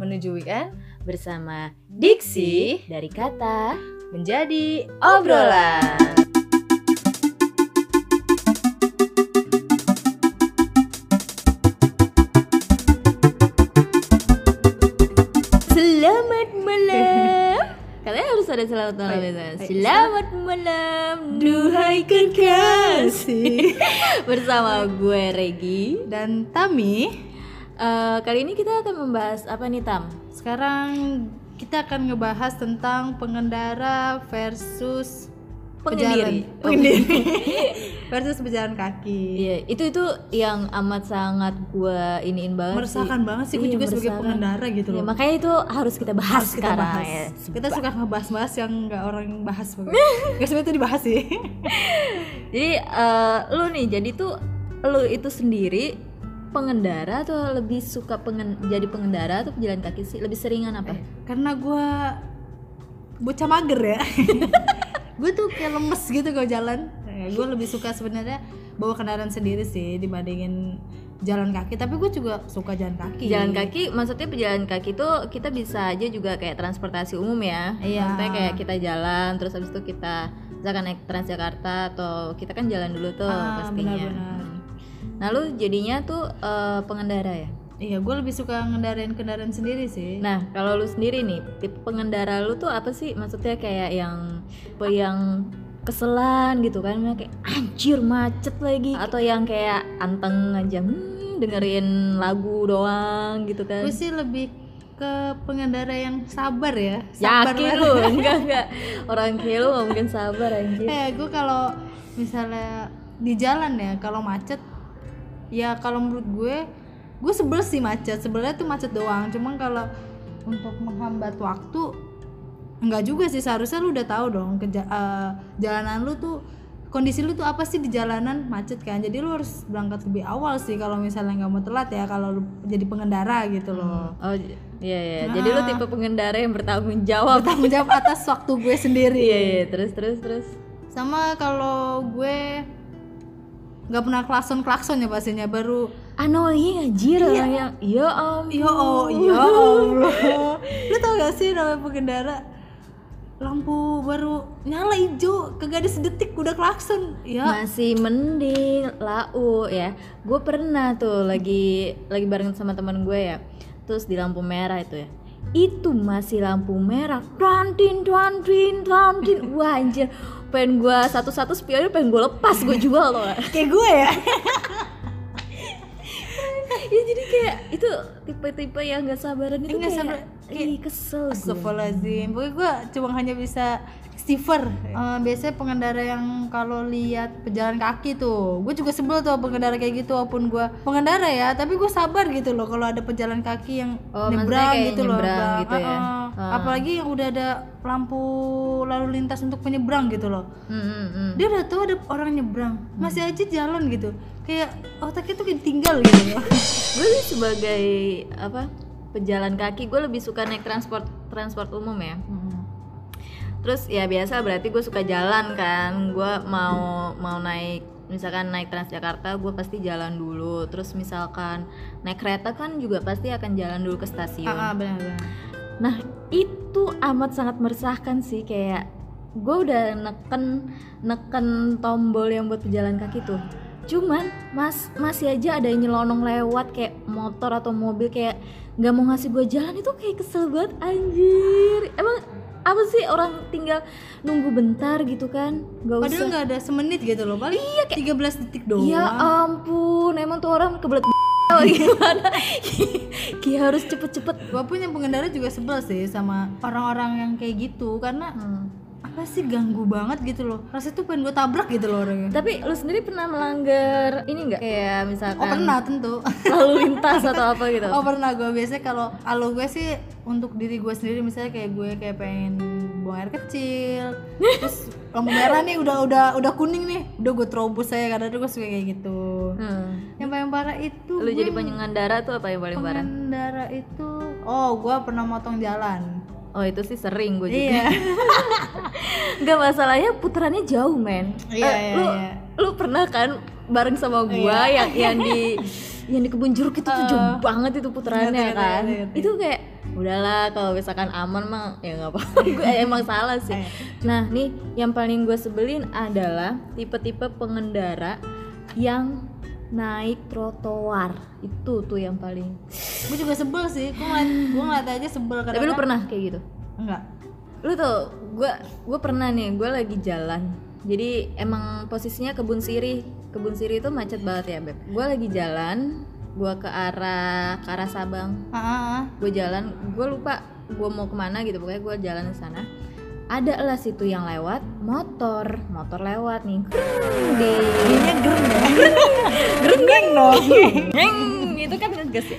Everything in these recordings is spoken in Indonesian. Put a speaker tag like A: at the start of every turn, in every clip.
A: menuju weekend
B: bersama Diksi dari kata
A: menjadi
B: obrolan. Selamat malam. Kalian harus ada selamat malam
A: Oh, iya.
B: ya.
A: Oh, iya.
B: Selamat malam, duhai kekasih. Bersama gue Regi.
A: dan Tami.
B: Eh, kali ini kita akan membahas apa nih Tam?
A: Sekarang kita akan ngebahas tentang pengendara versus
B: Pengendiri.
A: pejalan- pengendiri versus pejalan kaki.
B: Iya, itu itu yang amat sangat gua iniin banget.
A: Meresahkan banget sih gue
B: Iya,
A: juga sebagai
B: meresahkan.
A: pengendara gitu
B: Iya,
A: loh.
B: makanya itu harus kita bahas
A: kita
B: sekarang
A: bahas.
B: ya.
A: Kita suka ngebahas-bahas yang nggak orang bahas banget. Gak sebenarnya itu dibahas sih.
B: Jadi eh, lu nih, jadi tuh lu itu sendiri pengendara atau lebih suka pengen jadi pengendara atau pejalan kaki sih? Lebih seringan apa?
A: Karena gue bocah mager ya. gue tuh kayak lemes gitu kalau jalan. Gue lebih suka sebenarnya bawa kendaraan sendiri sih dibandingin jalan kaki. Tapi gue juga suka jalan kaki.
B: Jalan kaki, maksudnya pejalan kaki itu kita bisa aja juga kayak transportasi umum ya.
A: Iya.
B: Maksudnya kayak kita jalan, terus habis itu kita misalkan naik Transjakarta atau kita kan jalan dulu tuh
A: Ah,
B: pastinya.
A: benar-benar.
B: Nah lu jadinya tuh eh, pengendara ya?
A: Iya, gue lebih suka ngendarain kendaraan sendiri sih.
B: Nah, kalau lu sendiri nih, tipe pengendara lu tuh apa sih? Maksudnya kayak yang apa yang keselan gitu kan kayak anjir macet lagi atau yang kayak anteng aja "Hmm, dengerin lagu doang gitu kan.
A: Gue sih lebih ke pengendara yang sabar ya. Sabar
B: Yakin
A: banget.
B: lu? Enggak enggak. Orang kayak lu nggak mungkin sabar anjir.
A: Eh, gue kalau misalnya di jalan ya, kalau macet, ya kalau menurut gue, gue sebel sih macet. Sebenarnya tuh macet doang. Cuman kalau untuk menghambat waktu, enggak juga sih. Seharusnya lu udah tahu dong keja- eh, jalanan lu tuh kondisi lu tuh apa sih di jalanan macet kan. Jadi lu harus berangkat lebih awal sih kalau misalnya nggak mau telat ya kalau lu jadi pengendara gitu loh. Nah.
B: Oh j- iya iya. Jadi lu tipe pengendara yang bertanggung jawab.
A: Tanggung jawab atas waktu gue sendiri.
B: Iya iya, terus terus terus.
A: sama kalau gue nggak pernah klakson klakson ya pastinya baru
B: Annoying anjir orang yang ya om.
A: Iya. yo oh yo Allah lu tau gak sih namanya pengendara lampu baru nyala hijau kagak ada sedetik udah klakson ya
B: masih mending lau ya gue pernah tuh lagi lagi bareng sama teman gue ya terus di lampu merah itu ya itu masih lampu merah tuantin tuantin tuantin wah anjir pengen gue satu-satu spionnya pengen gue lepas gue jual loh
A: kayak gue ya
B: ya jadi kayak itu tipe-tipe yang gak sabaran itu
A: Nggak
B: kayak,
A: sabar, kayak-
B: ih kesel gue
A: Astagfirullahaladzim Pokoknya gue cuma hanya bisa Stiver
B: Iya.
A: Eh, Biasanya pengendara yang kalau lihat pejalan kaki tuh Gue juga sebel tuh pengendara kayak gitu Walaupun gue pengendara ya Tapi gue sabar gitu loh Kalau ada pejalan kaki yang
B: Oh, maksudnya
A: nyebrang
B: kayak
A: gitu loh
B: nyebrang
A: Bang.
B: gitu ya.
A: Eh, eh. Apalagi yang udah ada lampu lalu lintas untuk penyebrang gitu loh
B: Hmm, hmm, hmm.
A: Dia udah tahu ada orang nyebrang Masih aja jalan gitu Kayak otaknya tuh ditinggal
B: Iya.
A: gitu
B: gue sih sebagai apa pejalan kaki gue lebih suka naik transport transport umum ya terus ya biasa berarti gue suka jalan kan gue mau mau naik misalkan naik Transjakarta gue pasti jalan dulu terus misalkan naik kereta kan juga pasti akan jalan dulu ke stasiun
A: Ah, ah, benar-benar
B: nah itu amat sangat meresahkan sih kayak gue udah neken neken tombol yang buat pejalan kaki tuh cuman mas masih aja ada yang nyelonong lewat kayak motor atau mobil kayak nggak mau ngasih gue jalan itu kayak kesel banget anjir emang apa sih orang tinggal nunggu bentar gitu kan nggak usah
A: Padahal nggak ada semenit gitu loh, paling
B: Iya,
A: 13 detik doang.
B: Ya ampun, emang tuh orang kebelet atau gimana? Ki harus cepet-cepet.
A: Gue pun yang pengendara juga sebel sih sama orang-orang yang kayak gitu karena
B: Hmm.
A: apa sih ganggu banget gitu loh. Rasanya tuh pengen gue tabrak gitu loh orangnya.
B: Tapi lu sendiri pernah melanggar ini nggak? Kayak misalkan
A: Oh pernah tentu.
B: lalu lintas atau apa gitu?
A: Oh pernah gue biasanya kalau kalau gue sih untuk diri gue sendiri misalnya kayak gue kayak pengen buang air kecil terus lampu merah nih udah udah udah kuning nih udah gue terobos aja karena gue suka kayak gitu
B: Hmm.
A: yang paling parah itu
B: Lu
A: gue
B: jadi pengendara tuh apa yang paling parah?
A: pengendara itu oh gue pernah motong jalan
B: Oh itu sih sering gue juga.
A: iya
B: Nggak masalahnya putarannya jauh men.
A: Iya,
B: Eh,
A: iya,
B: lu
A: iya.
B: lu pernah kan bareng sama gua yang yang di yang di kebun jeruk itu tuh jauh banget itu putarannya
A: Eh, Ngerti, ngerti,
B: kan.
A: ngerti, ngerti.
B: Itu kayak udahlah kalau misalkan aman mah ya nggak apa-apa gue emang salah sih
A: Eh.
B: nah nih yang paling gue sebelin adalah tipe-tipe pengendara yang naik trotoar itu tuh yang paling
A: gue juga sebel sih gue ngeliat gue ngeliat aja sebel kadang
B: tapi lu pernah kayak gitu
A: enggak
B: lu tuh gue gue pernah nih gue lagi jalan jadi emang posisinya kebun sirih kebun sirih itu macet banget ya beb gue lagi jalan gue ke arah ke arah Sabang
A: ah, ah, ah.
B: gue jalan gue lupa gue mau kemana gitu pokoknya gue jalan ke sana ada lah situ yang lewat motor motor lewat nih di
A: Kayaknya gereng ya gereng dong
B: Nyeng! itu kan ngegas ya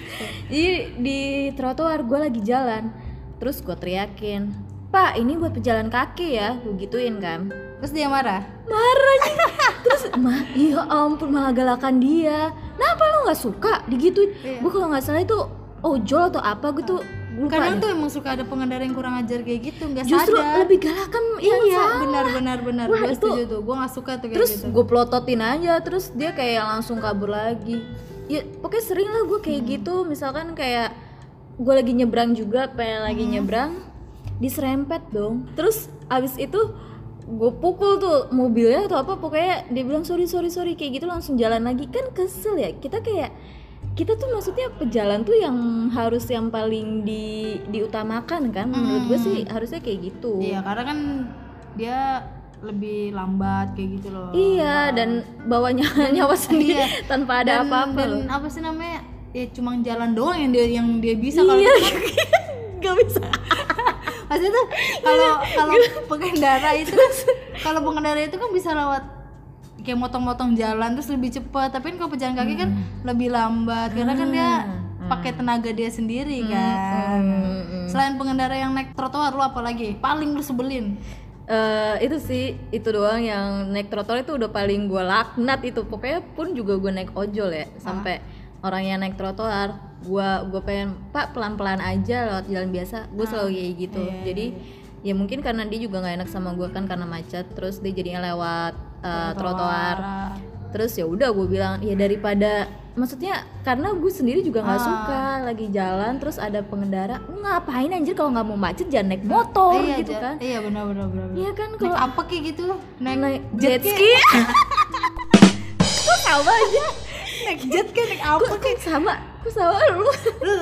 B: jadi di trotoar gue lagi jalan terus gue teriakin pak ini buat pejalan kaki ya gue gituin kan
A: terus dia marah
B: marah sih. terus mah ya ampun malah galakan dia kenapa lu nggak suka digituin
A: Iya.
B: gue kalau nggak salah itu ojol atau apa gue tuh lupa
A: kadang
B: deh.
A: tuh emang suka ada pengendara yang kurang ajar kayak gitu nggak
B: justru
A: sadar
B: lebih galakan yang
A: iya
B: salah.
A: benar benar benar
B: Wah,
A: gue
B: itu-
A: setuju tuh gue nggak suka tuh kayak
B: terus
A: gitu
B: gue plototin aja terus dia kayak langsung kabur lagi ya pokoknya sering lah gue kayak gitu misalkan kayak gue lagi nyebrang juga pengen lagi
A: Hmm.
B: nyebrang diserempet dong terus abis itu gue pukul tuh mobilnya atau apa pokoknya dia bilang sorry sorry sorry kayak gitu langsung jalan lagi kan kesel ya kita kayak kita tuh maksudnya pejalan tuh yang harus yang paling di diutamakan kan menurut gue sih harusnya kayak gitu
A: Hmm. iya karena kan dia lebih lambat kayak gitu loh
B: Iya, dan bawanya nyawa sendiri
A: Iya.
B: tanpa ada
A: Dan-
B: apa-apa
A: dan
B: loh.
A: apa sih namanya ya cuma jalan doang yang dia yang dia bisa kalau
B: Iya, gak bisa.
A: maksudnya tuh kalau
B: Iya.
A: kalau pengendara itu kan, kalau pengendara itu kan bisa lewat kayak motong-motong jalan terus lebih cepat tapi kan kalau pejalan kaki kan
B: Hmm.
A: lebih lambat karena kan dia pakai tenaga dia sendiri
B: Hmm.
A: kan selain pengendara yang naik trotoar lu apa lagi paling lu sebelin
B: Eh, itu sih, itu doang yang naik trotoar itu udah paling gue laknat itu. Pokoknya pun juga gue naik ojol
A: Ah.
B: ya, sampai orang yang naik trotoar, gue gue pengen pak pelan-pelan aja lewat jalan biasa.
A: Ah.
B: Gue selalu kayak gitu.
A: Iya,
B: Jadi ya mungkin karena dia juga nggak enak sama gue kan karena macet, terus dia jadinya lewat eh, trotoar.
A: Parah.
B: terus ya udah gue bilang ya daripada maksudnya karena gue sendiri juga
A: Ah.
B: nggak suka lagi jalan terus ada pengendara "Lu ngapain anjir kalau nggak mau macet jangan naik motor
A: iya,
B: gitu
A: Ja.
B: kan
A: iya benar benar benar benar.
B: iya kan
A: naik
B: kalau
A: apa kayak gitu naik,
B: naik
A: jet
B: jet
A: kek.
B: ski kok sama aja
A: naik jet kayak naik apa
B: kok kok sama kok sama lu
A: lu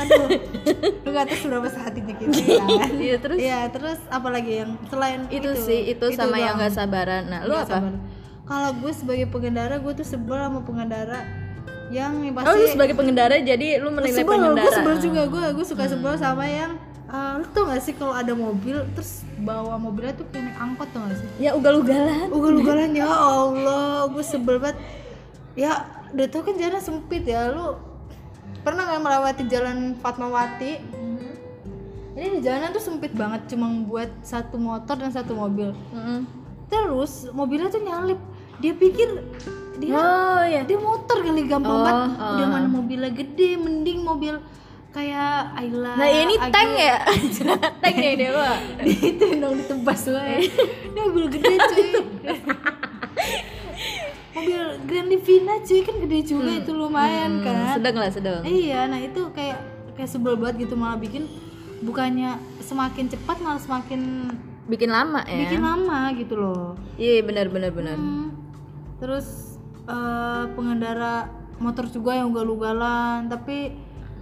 A: aduh lu gak tahu berapa sehatinya gitu ya
B: iya terus
A: Iya, terus apalagi yang selain
B: itu, sih itu, sama
A: doang.
B: yang nggak sabaran nah lu
A: Nggak
B: apa
A: sabar. Kalau gue sebagai pengendara, gue tuh sebel sama pengendara yang yang pasti
B: Oh, lu sebagai pengendara jadi lu menilai
A: sebel,
B: pengendara.
A: gue sebel juga gue gue suka sebel sama yang eh, lu tau gak sih kalau ada mobil terus bawa mobilnya tuh kayak naik angkot tau gak sih?
B: Ya ugal-ugalan.
A: Ugal-ugalan ya Allah, gue sebel banget. Ya, udah tau kan jalan sempit ya lu. Pernah nggak melewati jalan Fatmawati? Ini di jalanan tuh sempit banget, cuma buat satu motor dan satu mobil.
B: Mm-mm.
A: Terus mobilnya tuh nyalip. Dia pikir dia
B: Oh ya.
A: dia motor kali gampang
B: Oh,
A: banget. Udah mana mobilnya gede, mending mobil kayak Ayla.
B: Nah ini
A: Ag-
B: tank ya? tank yang dia bawa
A: itu dong ditebas gue. Ini mobil gede cuy. mobil Grand Divina cuy kan gede juga
B: Hmm.
A: itu lumayan kan.
B: Sedang lah sedang
A: Iya, nah itu kayak kayak sebel banget gitu malah bikin bukannya semakin cepat malah semakin
B: Bikin lama ya?
A: bikin lama gitu loh.
B: Iya benar benar benar
A: Hmm. Terus eh, pengendara motor juga yang ugal-ugalan, tapi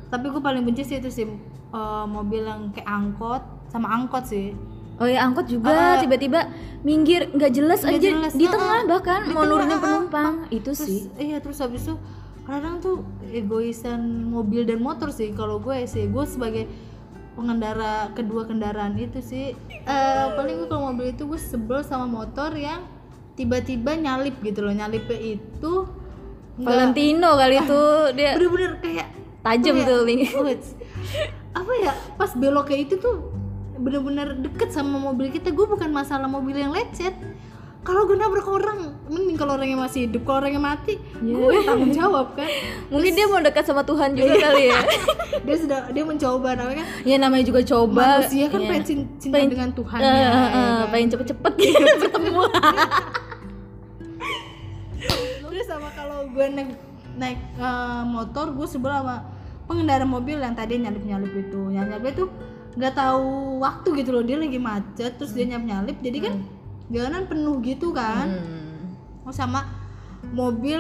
A: tapi gue paling benci sih itu sih eh, mobil yang kayak angkot sama angkot sih.
B: Oh ya angkot juga tiba-tiba minggir nggak jelas
A: Nggak
B: aja
A: jelas,
B: di
A: ah,
B: tengah
A: ah.
B: bahkan
A: Di
B: mau
A: tengah, ah,
B: nurunin
A: ah.
B: penumpang itu sih
A: Terus iya terus habis itu kadang tuh egoisan mobil dan motor sih kalau gue sih gue sebagai pengendara kedua kendaraan itu sih eh, paling gue kalau mobil itu gue sebel sama motor yang tiba-tiba nyalip gitu loh nyalipnya itu nggak-
B: Valentino kali itu dia
A: bener-bener kayak
B: tajam
A: kayak-
B: tuh link.
A: Wits. ya? apa ya pas belok kayak itu tuh bener-bener deket sama mobil kita gue bukan masalah mobil yang lecet kalau gue nabrak orang mending kalau orangnya masih hidup kalau orangnya mati
B: Iya.
A: gue yang tanggung jawab kan
B: Mungkin dia mau dekat sama Tuhan juga kali ya
A: dia sudah dia mencoba namanya kan
B: Ya namanya juga coba
A: manusia kan
B: Iya.
A: pengen cin- cinta
B: Pengen-
A: dengan Tuhan ya,
B: Eh, eh,
A: ya
B: eh,
A: kan?
B: pengen cepet-cepet gitu ketemu
A: terus sama kalau gue naik naik eh, motor gue sebel sama pengendara mobil yang tadi nyalip nyalip itu nyalip nyalip itu nggak tahu waktu gitu loh dia lagi macet terus dia
B: Hmm.
A: nyalip nyalip jadi kan jalanan penuh gitu kan
B: Hmm.
A: Oh, sama mobil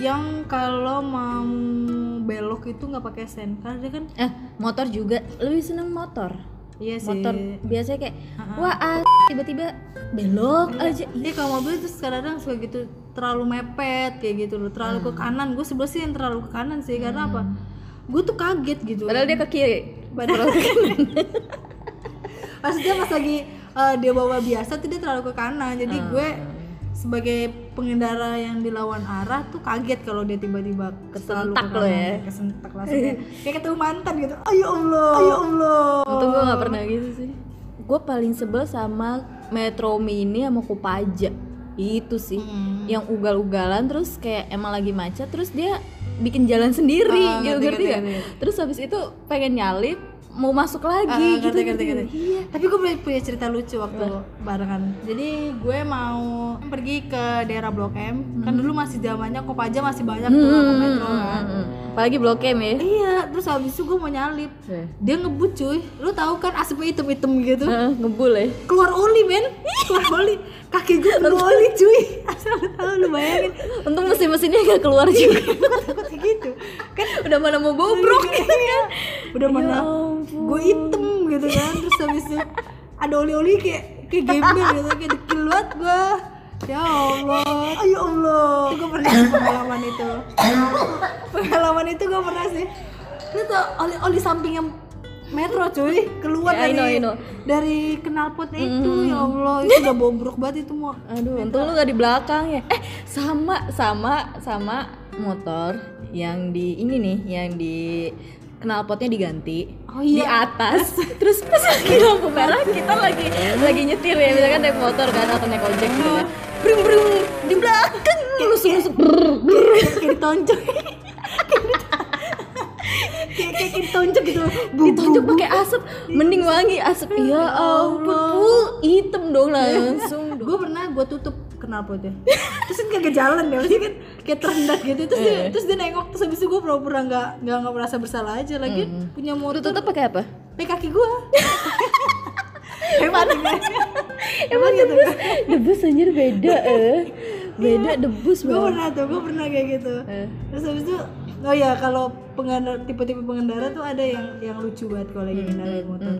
A: yang kalau mau belok itu nggak pakai sen karena dia kan
B: eh motor juga lebih seneng motor
A: iya sih
B: motor biasanya kayak
A: Uh-uh.
B: wah ah, tiba-tiba belok aja
A: Iya kalau mobil terus kadang-kadang suka gitu terlalu mepet kayak gitu loh, terlalu
B: Hmm.
A: ke kanan. Gue sebelah sih yang terlalu ke kanan sih karena apa? Gue tuh kaget gitu.
B: padahal dia ke kiri
A: Padahal Maksudnya pas lagi eh, dia bawa biasa tuh dia terlalu ke kanan. Jadi
B: Ah.
A: gue sebagai pengendara yang dilawan arah tuh kaget kalau dia tiba-tiba terlalu
B: Kesentak
A: ke
B: lo
A: kanan.
B: ya.
A: Kesentak langsung kayak, kayak ketemu mantan gitu. Ayo Allah,
B: Oh, ya
A: ayo Allah.
B: untung gue gak pernah gitu sih gue paling sebel sama Metro Mini sama Kopaja itu sih
A: Hmm.
B: yang ugal-ugalan terus kayak emang lagi macet terus dia bikin jalan sendiri
A: Ah,
B: gitu
A: ngerti,
B: ngerti
A: ngerti,
B: gak?
A: ngerti.
B: terus habis itu pengen nyalip mau masuk lagi
A: Ah,
B: gitu
A: ngerti, ngerti,
B: ngerti.
A: ngerti.
B: iya
A: Tapi gue punya- punya cerita lucu waktu barengan. Jadi gue mau pergi ke daerah Blok M. Kan dulu masih zamannya Kopaja masih banyak tuh
B: Hmm,
A: aku Iya. metro kan.
B: hmm. apalagi blok M ya
A: Iya, terus habis itu gue mau nyalip. Dia ngebut cuy. Lu tahu kan asapnya item-item gitu.
B: Eh, ngebul ya
A: Keluar oli, men. Keluar oli. Kaki gue penuh oli, cuy. Asal lu tahu lu bayangin.
B: untung mesin-mesinnya gak keluar
A: Iya.
B: juga
A: Gue takut kayak gitu.
B: kan udah mana mau bobrok gitu kan
A: Iya. Udah
B: Ya
A: mana
B: ampun.
A: gue item gitu kan. Terus habis itu ada oli-oli kayak kayak gembel gitu kayak dekil banget gue. Ya Allah,
B: Ya
A: ayo Allah. Itu gue pernah sih pengalaman itu. pengalaman itu gue pernah sih. Lu tau oli-oli samping yang metro cuy keluar
B: Ya,
A: dari
B: I know, I know.
A: dari knalpot itu ya Allah itu udah bobrok banget itu mau
B: Aduh, untung lu gak di belakang ya. Eh, sama sama sama motor yang di ini nih, yang di knalpotnya diganti
A: Oh iya.
B: di atas. Terus pas lagi lampu merah kita lagi lagi nyetir ya, misalkan naik motor kan atau naik ojek gitu kan. Brum brum di belakang lu lusuk
A: kayak ditonjok kayak kayak ditonjok gitu Bu,
B: ditonjok
A: bu, bu.
B: pakai asap mending wangi asap ya ampun Bu, hitam dong langsung
A: gue pernah gue tutup knalpotnya terus kan kagak jalan ya maksudnya kan kayak terendah gitu terus dia,
B: Eh.
A: terus dia nengok terus habis itu gue pura-pura nggak nggak nggak merasa bersalah aja lagi punya
B: lu
A: motor
B: tutup pakai apa
A: pakai kaki gitu. gue hebat
B: gitu? Emang gitu? debus, debus anjir beda eh. Beda debus
A: gue
B: banget.
A: pernah tuh gue pernah kayak gitu
B: Eh.
A: terus habis itu oh ya kalau pengendara tipe-tipe pengendara tuh ada yang yang lucu banget kalau lagi ngendarain motor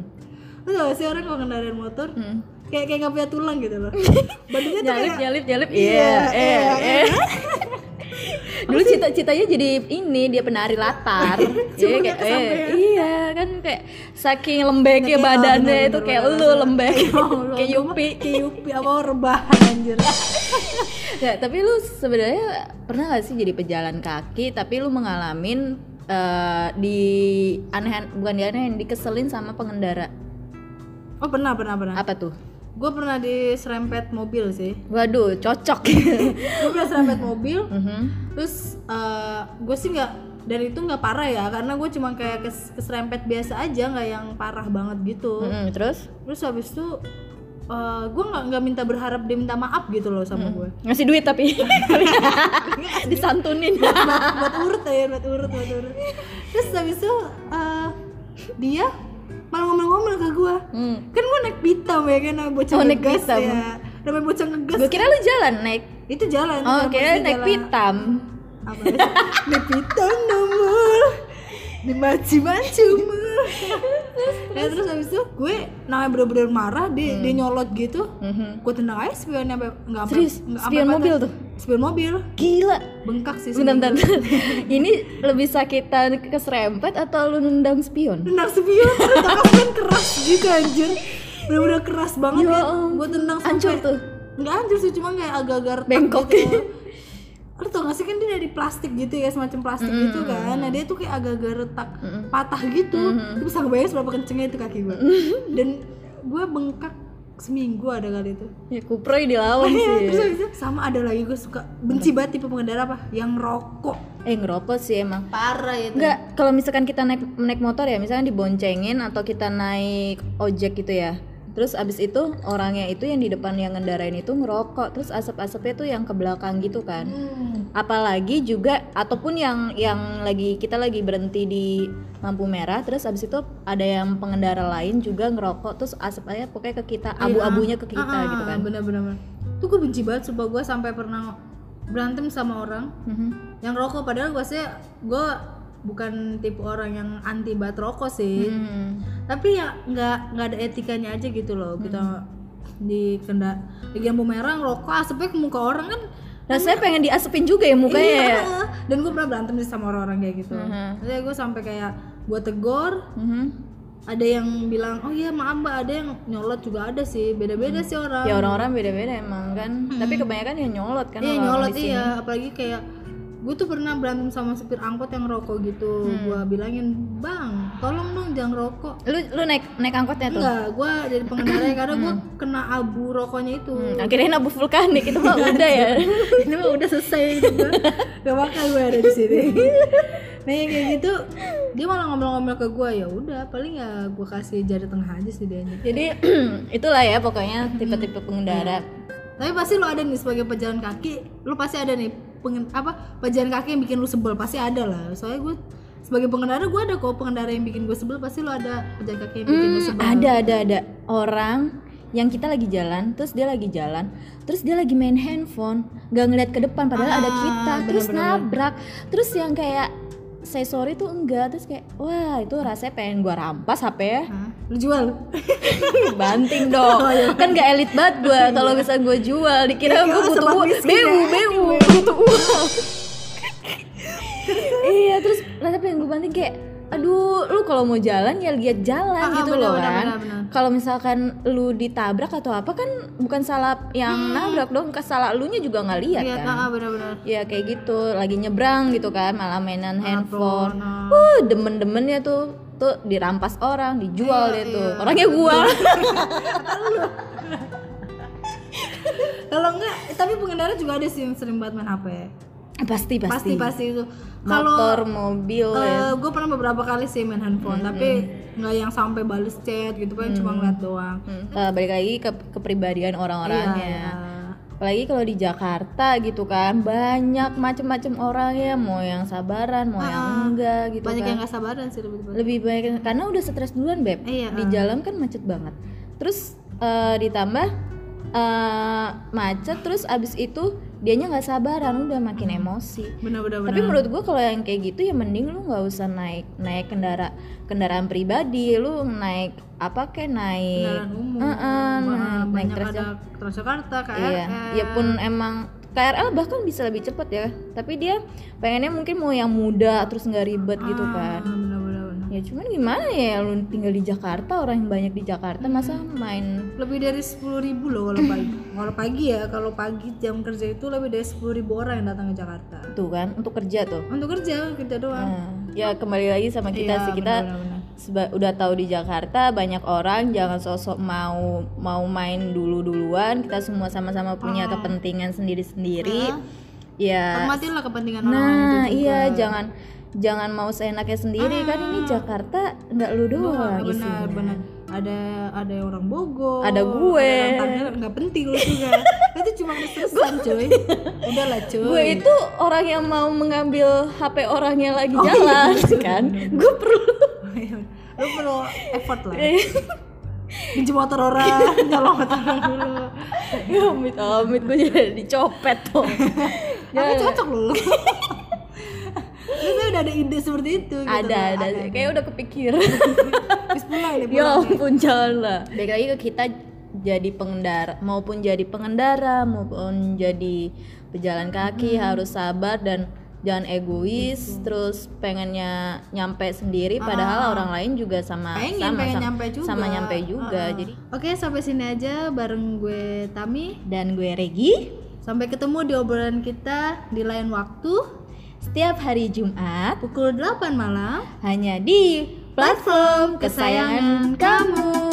A: lu tau gak sih orang kalau ngendarain motor kayak kayak nggak punya tulang gitu loh badannya tuh
B: Nyalip,
A: kayak
B: nyalip, nyalip.
A: Iya,
B: Iya, eh,
A: iya,
B: eh. Dulu cita-citanya jadi ini dia penari latar. Iya, kayak, eh, iya kan kayak saking
A: ya.
B: lembeknya
A: Saking- ah,
B: badannya
A: bener,
B: itu kayak
A: bener,
B: lu
A: bener.
B: lembek,
A: Ya Allah,
B: kayak
A: gua mah
B: Yupi.
A: kayak yupi apa rebahan anjir
B: Ya, tapi lu sebenarnya pernah gak sih jadi pejalan kaki tapi lu mengalamin eh, di aneh bukan di aneh dikeselin sama pengendara
A: oh pernah pernah pernah
B: apa tuh
A: gue pernah diserempet mobil sih
B: waduh cocok
A: gue pernah serempet mobil
B: Mhm.
A: terus gue sih nggak dari itu nggak parah ya karena gue cuma kayak kes- keserempet biasa aja nggak yang parah banget gitu
B: Mm-mm, Mhm, terus
A: terus habis itu gue nggak nggak minta berharap dia minta maaf gitu loh sama
B: Hmm.
A: gue
B: ngasih duit tapi disantunin
A: buat, buat urut ya buat urut buat urut terus habis itu eh, dia malah ngomel-ngomel ke gue
B: hmm.
A: kan gue naik pitam ya kan namanya bocah
B: Oh, naik
A: ngegas
B: pitam.
A: ya namanya bocah ngegas
B: gue kira lu jalan naik
A: itu jalan itu
B: oh
A: jalan,
B: kira
A: itu
B: naik
A: Iya, jalan.
B: pitam
A: apa sih? naik pitam nomor dimaci maci ya terus habis itu gue namanya bener-bener marah dia,
B: Hmm.
A: dia nyolot gitu
B: Mhm.
A: gue tendang aja spionnya sampai nggak sampai-
B: Serius?
A: nggak sampai
B: Spion
A: patah.
B: mobil tuh?
A: spion mobil
B: gila
A: bengkak sih
B: bentar, bentar.
A: seminggu.
B: ini lebih sakitan keserempet atau lu nendang spion
A: tendang spion terus tangan kan keras gitu anjir bener-bener keras banget
B: Ya
A: ya
B: ampun.
A: gue tendang sampai-
B: hancur tuh
A: nggak hancur sih cuma kayak agak-agak retak
B: Bengkok.
A: gitu lu tau gak sih kan dia dari plastik gitu ya semacam plastik gitu kan nah dia tuh kayak agak-agak retak patah gitu Lu bisa ngebayang seberapa kencengnya itu kaki gue dan gue bengkak seminggu ada kali itu Iya,
B: ya kuproy
A: Oh,
B: dilawan
A: terus
B: sih
A: habis itu sama ada lagi gue suka benci banget tipe pengendara apa yang rokok
B: eh ngerokok sih emang
A: parah itu
B: Enggak, kalau misalkan kita naik naik motor ya, misalkan diboncengin atau kita naik ojek gitu ya. terus abis itu orangnya itu yang di depan yang ngendarain itu ngerokok terus asap-asapnya tuh yang ke belakang gitu kan
A: Hmm.
B: apalagi juga ataupun yang yang lagi kita lagi berhenti di lampu merah terus abis itu ada yang pengendara lain juga ngerokok terus asapnya pokoknya ke kita abu-abunya ke
A: Iya.
B: kita
A: Ah, ah,
B: gitu kan
A: bener-bener bener. tuh gue benci banget sumpah gue sampai pernah berantem sama orang
B: Mhm.
A: yang rokok padahal gue sih gue bukan tipe orang yang anti bat rokok sih
B: Hmm.
A: tapi ya nggak nggak ada etikanya aja gitu loh
B: Hmm.
A: kita di kenda di lampu merah rokok asapnya ke muka orang kan
B: rasanya Nah, pengen diasepin juga ya mukanya ya
A: Iya. dan gue pernah berantem sih sama orang-orang kayak gitu
B: Mhm.
A: jadi gue sampai kayak gue tegur
B: Mhm.
A: ada yang bilang oh iya maaf mbak ada yang nyolot juga ada sih beda-beda sih orang Iya,
B: ya orang-orang beda-beda emang kan tapi kebanyakan ya nyolot kan
A: iya
B: orang-orang
A: nyolot
B: di sini.
A: iya apalagi kayak gue tuh pernah berantem sama supir angkot yang rokok gitu
B: Hmm.
A: gue bilangin bang tolong dong jangan rokok
B: lu lu naik naik angkotnya tuh
A: enggak gue jadi pengendara ya, karena gue kena abu rokoknya itu
B: Hmm, akhirnya nabu vulkanik itu mah udah ya
A: ini mah udah selesai hidup gua gak bakal gue ada di sini nah yang kayak gitu dia malah ngomel-ngomel ke gue ya udah paling ya gue kasih jari tengah aja sih dia
B: jadi itulah ya pokoknya tipe-tipe pengendara
A: tapi pasti lo ada nih sebagai pejalan kaki lo pasti ada nih pengen apa pejalan kaki yang bikin lo sebel pasti ada lah soalnya gue sebagai pengendara gue ada kok pengendara yang bikin gue sebel pasti lo ada pejalan kaki yang bikin lo
B: Hmm,
A: sebel
B: ada ada ada orang yang kita lagi jalan, terus dia lagi jalan, terus dia lagi main handphone, nggak ngeliat ke depan padahal ada
A: Ah,
B: kita, terus
A: bener-bener.
B: nabrak, terus yang kayak saya sorry tuh enggak, terus kayak wah itu rasanya pengen gua rampas HP ya,
A: Hah? lo jual
B: banting dong,
A: Oh, iya.
B: kan nggak elit banget gua kalau bisa gua jual, dikira gua butuh
A: sobat
B: uang,
A: Iya. miskin ya.
B: beu beu butuh uang, iya terus rasanya pengen gua banting kayak aduh lu kalau mau jalan ya lihat jalan
A: Ah, ah,
B: gitu
A: bener,
B: loh
A: bener,
B: kan
A: bener, bener.
B: kalau misalkan lu ditabrak atau apa kan bukan salah yang
A: Hmm.
B: nabrak dong salah elunya juga nggak lihat
A: lihat
B: kan
A: ah ah, benar-benar
B: ya kayak gitu lagi nyebrang gitu kan malah mainan handphone
A: ah.
B: uh demen-demennya tuh tuh dirampas orang
A: Iya,
B: dijual dia tuh
A: iya.
B: orangnya gua
A: kalau enggak tapi pengendara juga ada sih yang sering banget main HP
B: pasti Nah,
A: pasti
B: pasti,
A: pasti itu kalau
B: motor mobil ya.
A: gue Eh, pernah beberapa kali sih main handphone tapi nggak yang sampai bales chat gitu kan cuma ngeliat doang Iya.
B: Hmm, eh, balik lagi ke kepribadian orang-orangnya apalagi kalau di Jakarta gitu kan banyak macem-macem orang ya mau yang sabaran mau yang
A: Ah.
B: enggak gitu
A: banyak
B: kan
A: yang nggak sabaran sih tiba-tiba
B: lebih banyak karena udah stres duluan beb
A: Iya,
B: di jalan kan macet banget terus eh, ditambah eh, macet terus abis itu dianya nggak sabaran udah makin
A: Hmm.
B: emosi
A: benar-benar
B: tapi menurut gue kalau yang kayak gitu ya mending lu nggak usah naik naik kendara kendaraan pribadi lu naik apa kayak naik
A: kendaraan umum
B: Heeh,
A: Wah,
B: naik
A: banyak
B: Transja-
A: ada Transjakarta KRL
B: iya ya pun emang KRL bahkan bisa lebih cepet ya tapi dia pengennya mungkin mau yang muda terus nggak ribet gitu
A: Ah.
B: kan
A: benar-benar benar.
B: ya cuman gimana ya lu tinggal di Jakarta orang yang banyak di Jakarta masa main
A: lebih dari sepuluh ribu loh kalau pagi kalau pagi ya kalau pagi jam kerja itu lebih dari sepuluh ribu orang yang datang ke Jakarta
B: tuh kan untuk kerja tuh
A: untuk kerja kerja doang
B: Nah, ya kembali lagi sama kita
A: Iya,
B: sih kita
A: benar-benar.
B: seba- udah tahu di Jakarta banyak orang jangan sosok mau mau main dulu duluan kita semua sama-sama
A: Ah.
B: punya kepentingan sendiri-sendiri ya
A: hormatilah kepentingan Ah. orang lain
B: nah
A: itu juga.
B: iya jangan jangan mau seenaknya sendiri kan ini
A: Ah.
B: Jakarta nggak lu doang
A: Iya,
B: isinya.
A: benar benar ada ada orang Bogor
B: Iya, Ada gue.
A: ada orang Tangerang. nggak penting lu juga itu cuma kesusahan cuy udahlah cuy
B: gue itu orang yang mau mengambil HP orang yang lagi
A: Oh, iya.
B: jalan kan gue perlu
A: lu perlu effort lah
B: Eh.
A: pinjam motor orang nyolong motor orang dulu
B: ya amit amit gue jadi dicopet tuh
A: tapi
B: Ya.
A: cocok lu lu tuh udah ada ide seperti itu gitu
B: ada
A: loh.
B: ada kayak udah kepikiran
A: Terus pulang deh
B: ya
A: pulang deh.
B: ampun jangan lah balik lagi ke kita jadi pengendara maupun jadi pengendara maupun jadi pejalan
A: Hmm.
B: kaki harus sabar dan jangan egois terus pengennya nyampe sendiri padahal orang lain juga sama
A: Ah. pengen
B: sama
A: pengen
B: sama,
A: nyampe juga
B: sama nyampe juga
A: Ah.
B: jadi
A: oke sampai sini aja bareng gue Tami
B: dan gue Regi
A: Sampai ketemu di obrolan kita di lain waktu
B: setiap hari Jumat
A: pukul 8 malam
B: hanya di platform kesayangan kamu. ya.